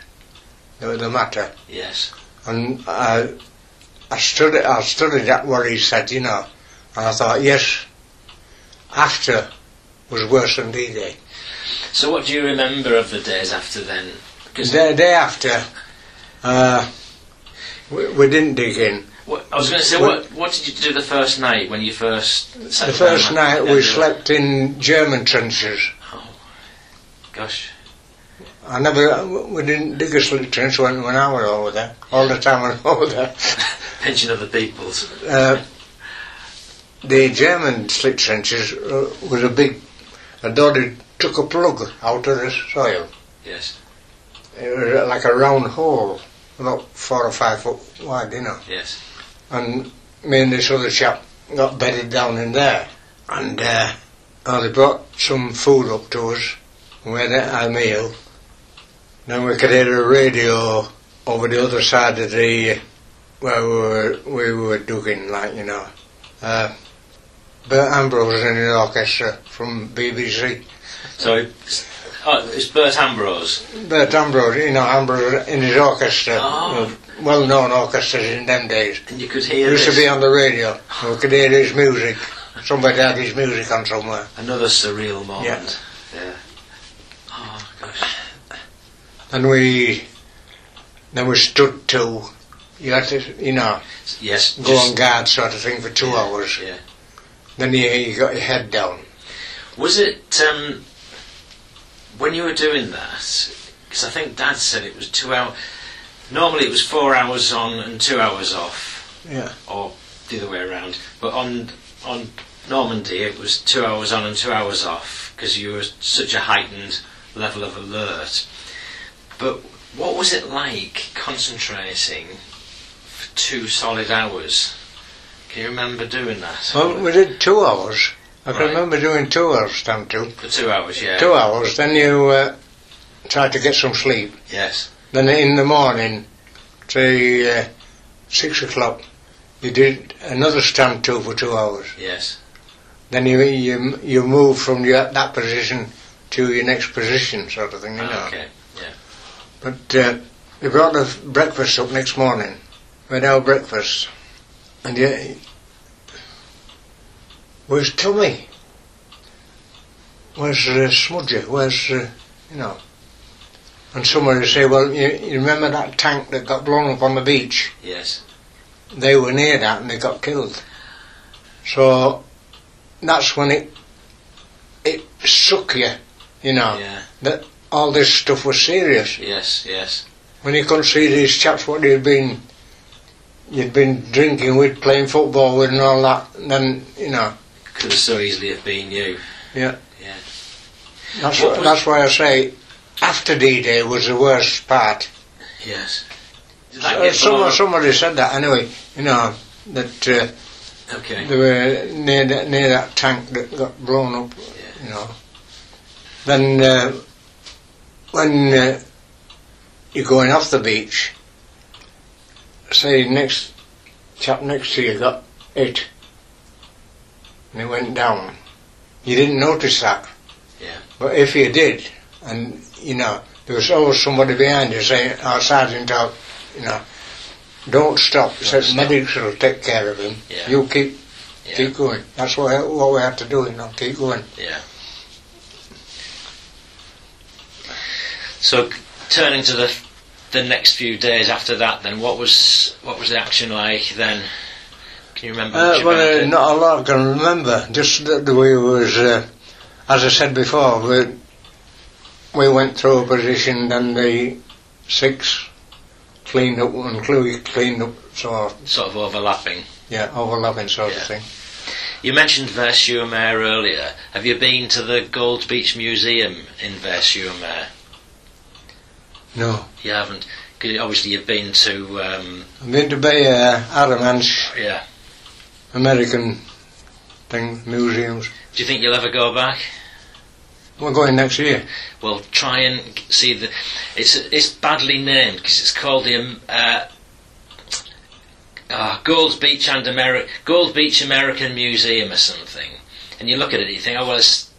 that are the matter. Yes. And I, I studied, I studied that what he said, you know, and I thought, yes, after was worse than D-Day. So what do you remember of the days after then? Because The day after, uh, we, we didn't dig in. what, I was going to say, what, what did you do the first night when you first? The first night we slept in German trenches. Gosh. I never, we didn't dig a sleep trench when, when I was over there, all the time when I was over Pinching other people's. there. Uh, the German sleep trenches uh, was a big, a dotted, took a plug out of the soil. Yes. It was Uh, like a round hole, about four or five foot wide, you know. Yes. and me and this other chap got bedded down in there. And uh, oh, they brought some food up to us, and we had our meal. Then we could hear a radio over the other side of the where we were, we were digging, like you know. Uh, Bert Ambrose was in the orchestra from BBC. So it's, oh, it's Bert Ambrose. Bert Ambrose, you know, Ambrose in his orchestra, Oh. well known orchestras in them days. And you could hear It used to this. be on the radio. and We could hear his music. Somebody had his music on somewhere. another surreal moment. Yeah. Yeah. Oh gosh. And we, then we stood to, you had to, you know, Yes. go just- on guard sort of thing for two hours. Yeah. Then you, you got your head down. Was it um, when you were doing that? Because I think Dad said it was two hours. Normally it was four hours on and two hours off, Yeah. or the other way around. But on on Normandy it was two hours on and two hours off because you were such a heightened level of alert. But what was it like concentrating for two solid hours? Can you remember doing that? Well, we did two hours. I can Right. remember doing two hours, time to. for two hours, yeah. Two hours, then you uh, tried to get some sleep. Yes. Then in the morning, say uh, six o'clock, you did another stand to for two hours. Yes. then you you, you move from your, that position to your next position, sort of thing, you know. Okay. But uh, we brought the f- breakfast up next morning. We had our breakfast, and you, where's Tommy? Where's uh, Smudgy? Where's uh, you know? And somebody say, well, you, you remember that tank that got blown up on the beach? Yes. they were near that and they got killed. So that's when it it shook you, you know. Yeah. All this stuff was serious. Yes. Yes. When you couldn't see these chaps what you'd been you'd been drinking with, playing football with and all that, and then you know. Could have so easily have been you. That's What wh- was- that's why I say after D Day was the worst part. Yes. Did So, that get blown someone, up? somebody said that anyway, you know, that uh, Okay. They were near that, near that tank that got blown up, Yeah. you know. Then uh, when uh, you're going off the beach, say next chap next to you got it, and he went down. You didn't notice that. Yeah. But if you did, and you know, there was always somebody behind you saying, "Our sergeant out," you know. Don't stop. He said, stop. medics will take care of him. Yeah. You keep Yeah. Keep going. That's what, what we have to do, you know, keep going. Yeah. So c- turning to the the next few days after that, then what was what was the action like then? Can you remember? Uh, much about well, uh, it? not a lot I can remember. Just that the way it was, uh, as I said before, we, we went through a position and the six cleaned up and Cluey cleaned up, so sort of overlapping. yeah, overlapping sort Yeah. of thing. You mentioned Versumer earlier. Have you been to the Gold Beach Museum in Versumer? No. You haven't. 'Cause obviously, you've been to um, I'm going to be uh, Adamant's yeah. American thing, museums. Do you think you'll ever go back? We're going next year. Well, try and see the. It's it's badly named because it's called the um, uh, ah, Gold Beach and Ameri- Gold Beach American Museum or something. And you look at it, you think, oh well, it's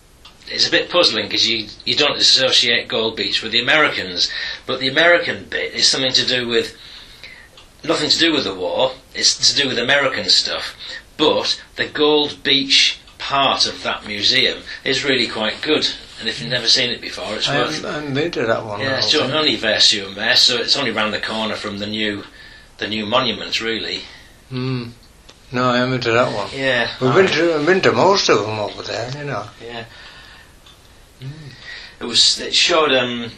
it's a bit puzzling because you you don't associate Gold Beach with the Americans, but the American bit is something to do with nothing to do with the war. It's to do with American stuff. But the Gold Beach part of that museum is really quite good. And if you've never seen it before, it's I worth haven't, I haven't been to that one. I yeah, it's don't only think. only Versu and Mess, so it's only round the corner from the new, the new monuments, really. Mm. No, I haven't been to that one. Yeah. We've been to, we've been to most of them over there, you know. Yeah. It was. It showed. Um,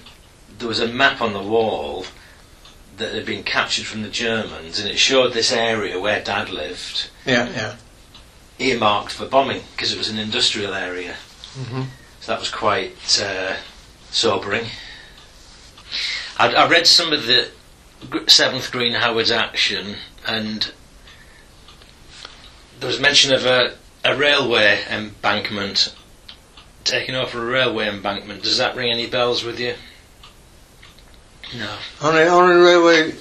there was a map on the wall that had been captured from the Germans, and it showed this area where Dad lived, Yeah, yeah. earmarked for bombing because it was an industrial area. Mhm. So that was quite uh, sobering. I, I read some of the Gr- Seventh Green Howard's action, and there was mention of a, a railway embankment taking over a railway embankment. Does that ring any bells with you? No. Only, only railway.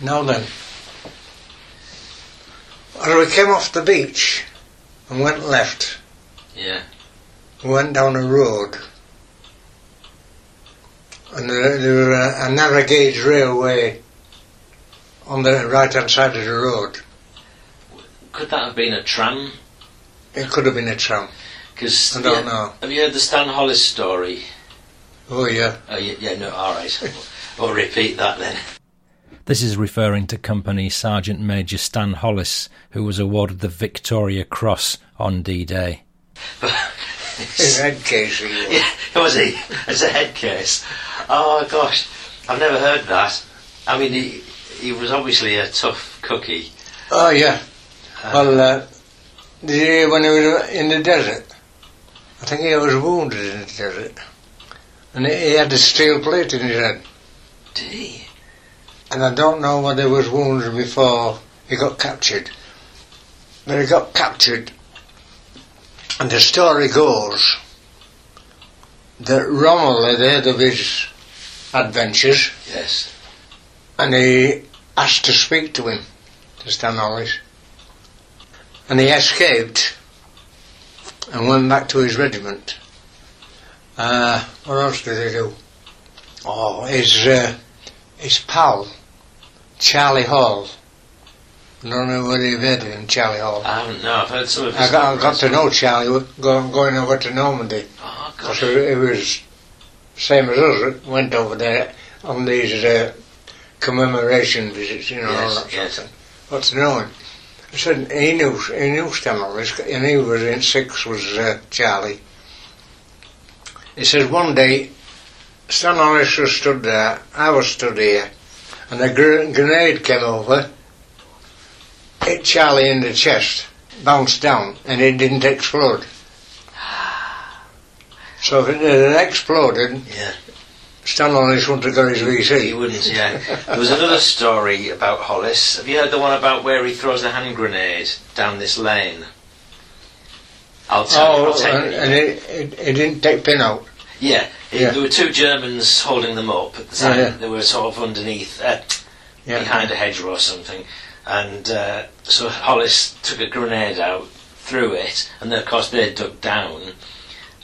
Now then, as we came off the beach and went left, Yeah. we went down a road, and there, there was a, a narrow gauge railway on the right hand side of the road. Could that have been a tram? It could have been a tram. Because I don't know. Have you heard the Stan Hollis story? Oh yeah, Oh, yeah, yeah no, all right. I'll repeat that then. This is referring to Company Sergeant Major Stan Hollis, who was awarded the Victoria Cross on D Day. his head case. he was. Yeah, was he? It's a head case. Oh gosh, I've never heard that. I mean, he he was obviously a tough cookie. Oh yeah. Well, uh, did you, when he was in the desert, I think he was wounded in the desert, and he, he had a steel plate in his head. Did he? And I don't know whether he was wounded before he got captured, but he got captured. And the story goes that Rommel had heard of his adventures, Yes. and he asked to speak to him, to Stan Hollis. And he escaped and went back to his regiment. Uh, what else did he do? Oh, his, uh, his pal, Charlie Hall. I don't know whether you've heard of him, Charlie Hall. I haven't. No, I've heard some of his. I got, I got to know Charlie go- going over to Normandy. Oh Because gosh. it was same as us, went over there on these uh, commemoration visits, you know, all that Yes, sort of yes. thing. What's knowing? I said, he knew, he knew Stan Morris, and he was in six, was uh, Charlie. He says, one day, Stan Morris was stood there, I was stood here, and a gr- grenade came over, hit Charlie in the chest, bounced down, and it didn't explode. So if it had exploded, Yeah. Stan Morris wouldn't have got his He VC. wouldn't. Yeah. There was another story about Hollis. Have you heard the one about where he throws a hand grenade down this lane? I'll tell you. I'll Oh, take and, you. and it, it, it didn't take pin out. Yeah, it- Yeah. Oh, there were two Germans holding them up at the time. yeah. They were sort of underneath, uh, Yeah. behind a hedgerow or something. And uh, so Hollis took a grenade out, threw it, and then of course they dug down.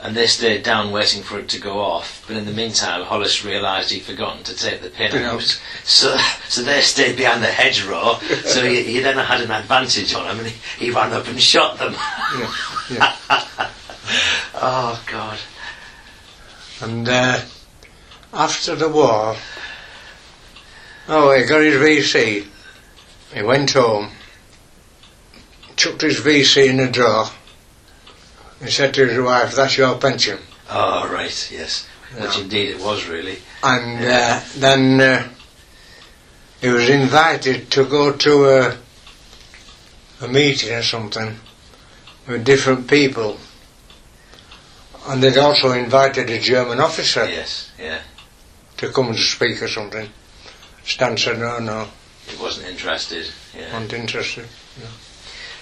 And they stayed down waiting for it to go off. But in the meantime, Hollis realised he'd forgotten to take the pin Pin out. out. So, so they stayed behind the hedgerow. so he, he then had an advantage on them, and he, he ran up and shot them. Yeah, yeah. oh God! And uh, after the war, Oh, he got his VC. He went home, chucked his VC in a drawer, and said to his wife, That's your pension. Oh, right, yes. Which indeed it was, really. And uh, then uh, he was invited to go to a, a meeting or something with different people. And they'd also invited a German officer Yes, yeah. to come and speak or something. Stan said, No, no, It wasn't interested. Yeah. not interested.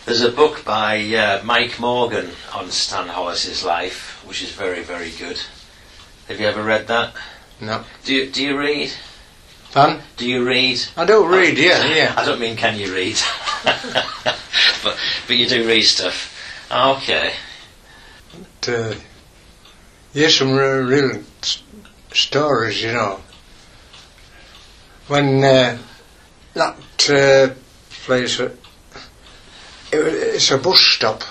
There's a book by uh, Mike Morgan on Stan Hollis's life, which is very, very good. Have you ever read that? No. Do you, do you read? Pardon? Do you read? I don't read, yeah, yeah. I don't mean can you read, but but you do read stuff. Okay. uh, here's some real, real s- stories, you know. When uh, that uh, place, uh, it, wa- it's a bus stop,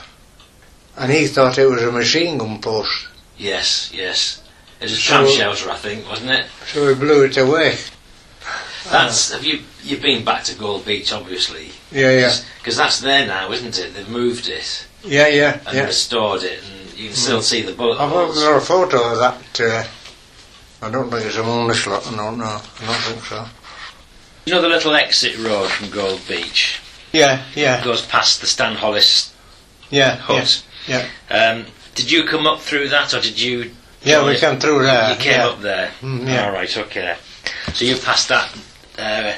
and he thought it was a machine gun post, Yes, yes. It was a So- tram shelter, I think, wasn't it? so he blew it away. That's have you you've been back to Gold Beach, obviously. Uh. Yeah, yeah, Because that's there now, isn't it? They've moved it yeah, yeah, and yeah. restored it, and you can still see the bullet I've got holes. a photo of that. Uh, I don't think it's a English lot. No, no, I don't think so. You know the little exit road from Gold Beach Yeah, yeah, goes past the Stan Hollis yeah, yeah. hut. yeah. Um, did you come up through that, or did you? Yeah, we Yeah. came through there. you came yeah. up there. Mm, yeah. All right. Okay. So you passed that uh,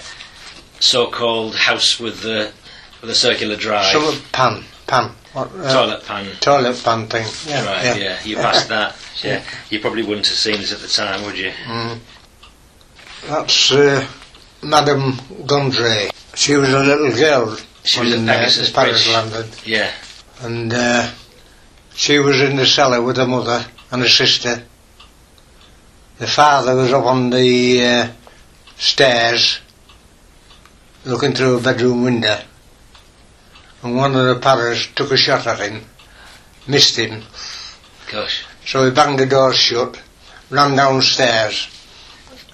so-called house with the with the circular drive Some pan, pan. What, uh, toilet pan. toilet pan thing. Yeah, right. yeah. Yeah. You passed that. Yeah. You probably wouldn't have seen this at the time, would you? Mm. That's uh, Madame Gondry. She was a little girl She when was at uh, Pegasus Paris Bridge. landed, Yeah. and uh, she was in the cellar with her mother and her sister. The father was up on the uh, stairs, looking through a bedroom window, and one of the parrots took a shot at him, missed him, Gosh. So he banged the door shut, ran downstairs.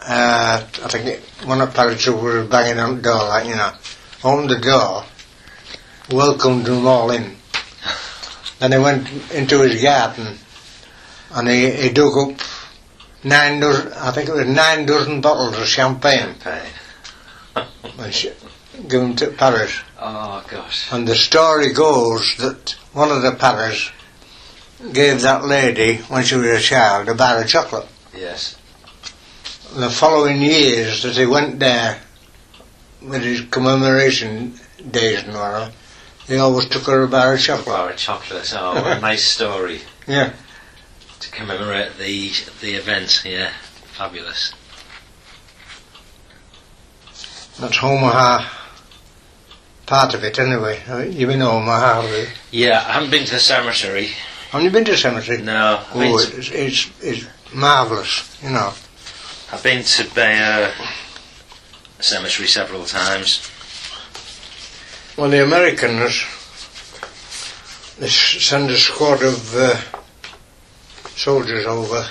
Uh, I think it, one of Parrot's was banging on the door, like, you know, opened the door, welcomed them all in. Then he went into his garden and he, he dug up nine dozen, I think it was nine dozen bottles of champagne Pain. and sh- gave them to Parrot. Oh gosh. And the story goes that one of the Parrots gave that lady, when she was a child, a bar of chocolate. Yes. the following years that he went there with his commemoration days and whatever, he always took her a bar of chocolate. Bar of chocolate. Oh, what a nice story Yeah. to commemorate the the event. Yeah. Fabulous. That's Omaha. Part of it, anyway. Uh, You've been to Omaha, have you? Yeah, I haven't been to the cemetery. Have you been to cemetery? No, I've been Oh, to, it's, it's, it's marvellous, you know. I've been to Bayer Cemetery several times. Well, the Americans, they s- send a squad of uh, soldiers over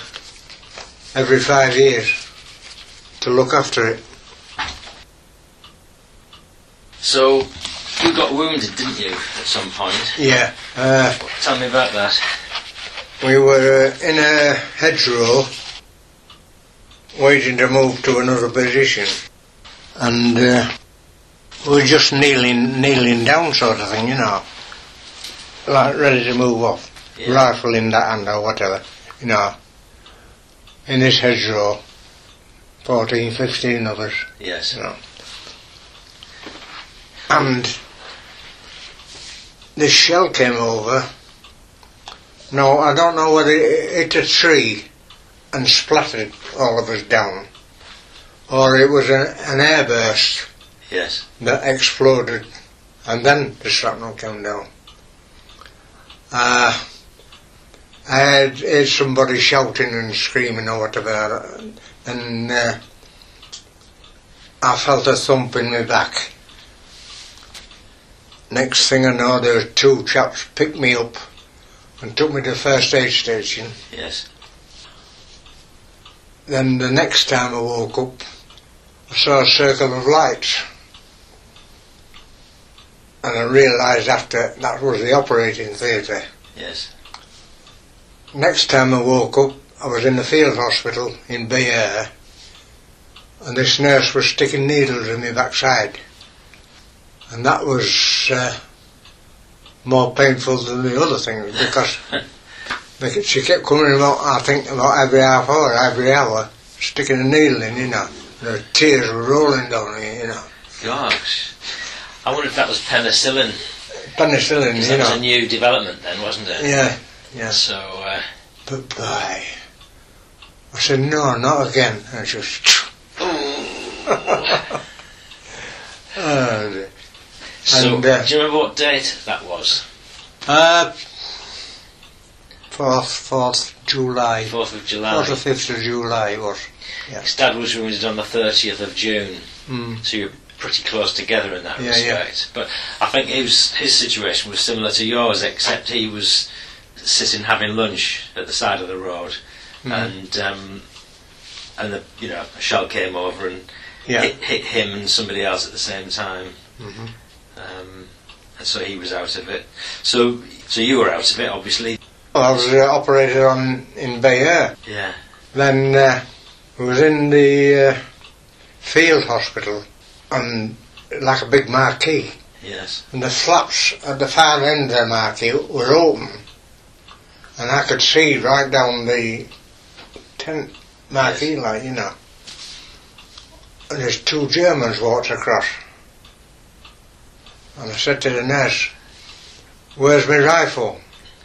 every five years to look after it. So you got wounded, didn't you, at some point? Yeah. Uh, Tell me about that. We were uh, in a hedgerow waiting to move to another position and uh, we were just kneeling kneeling down sort of thing, you know. Like ready to move off. Yeah. Rifle in that hand or whatever, you know. In this hedgerow. 14, 15 of us. Yes. You know. And the shell came over. No, I don't know whether it hit a tree and splattered all of us down, or it was a, an airburst Yes. that exploded, and then the shrapnel came down. Uh, I had, heard somebody shouting and screaming or whatever, and uh, I felt a thump in my back. Next thing I know, there were two chaps picked me up and took me to first aid station. Yes. Then the next time I woke up, I saw a circle of lights. And I realised after that was the operating theatre. Yes. Next time I woke up, I was in the field hospital in Bayeux, and this nurse was sticking needles in my backside, and that was uh, more painful than the other things because because she kept coming about. I think about every half hour, every hour, sticking a needle in, you know. And her tears were rolling down, here, you know. Gosh. I wonder if that was penicillin. Penicillin, 'cause you that was a know. new development then, wasn't it? Yeah, yeah. So, uh, But bye. I said, no, not again. And she was. Oh, dear. so And, uh, do you remember what date that was? uh, 4th, 4th July. 4th of July. 4th or 5th of July it was. His dad was wounded on the 30th of June, Mm. so you're pretty close together in that Yeah, yeah. respect. But I think his, his situation was similar to yours, except he was sitting having lunch at the side of the road, mm, Hmm. and um, and the, you know a shell came over and Yeah. Mm-hmm. hit, hit him and somebody else at the same time. Um, and so he was out of it. So so you were out of it, obviously. Well, I was uh, operated on in Bayeux. Yeah. Then uh, I was in the uh, field hospital and like a big marquee. Yes. and the flaps at the far end of the marquee were open, and I could see right down the tent marquee like you know. And there's two Germans walked across, and I said to the nurse, "Where's my rifle?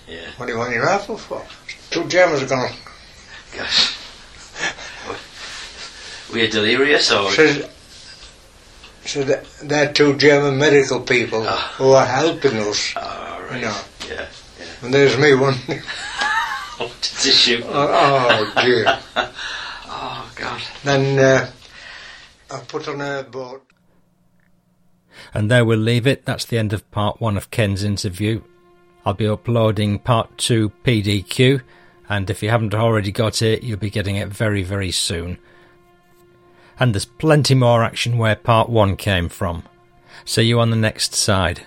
Yeah. What do you want your rifle for?" Two Germans are gone. Gosh. Were you delirious or? Says, said they're two German medical people Ah. who are helping us. Oh, right. You know, Yeah. and there's me one. Oh, it's a shoot. oh dear. Oh, God. Then uh, I put on a boat. And there we'll leave it. That's the end of part one of Ken's interview. I'll be uploading part two PDQ, and if you haven't already got it, you'll be getting it very, very soon. And there's plenty more action where part one came from. See you on the next side.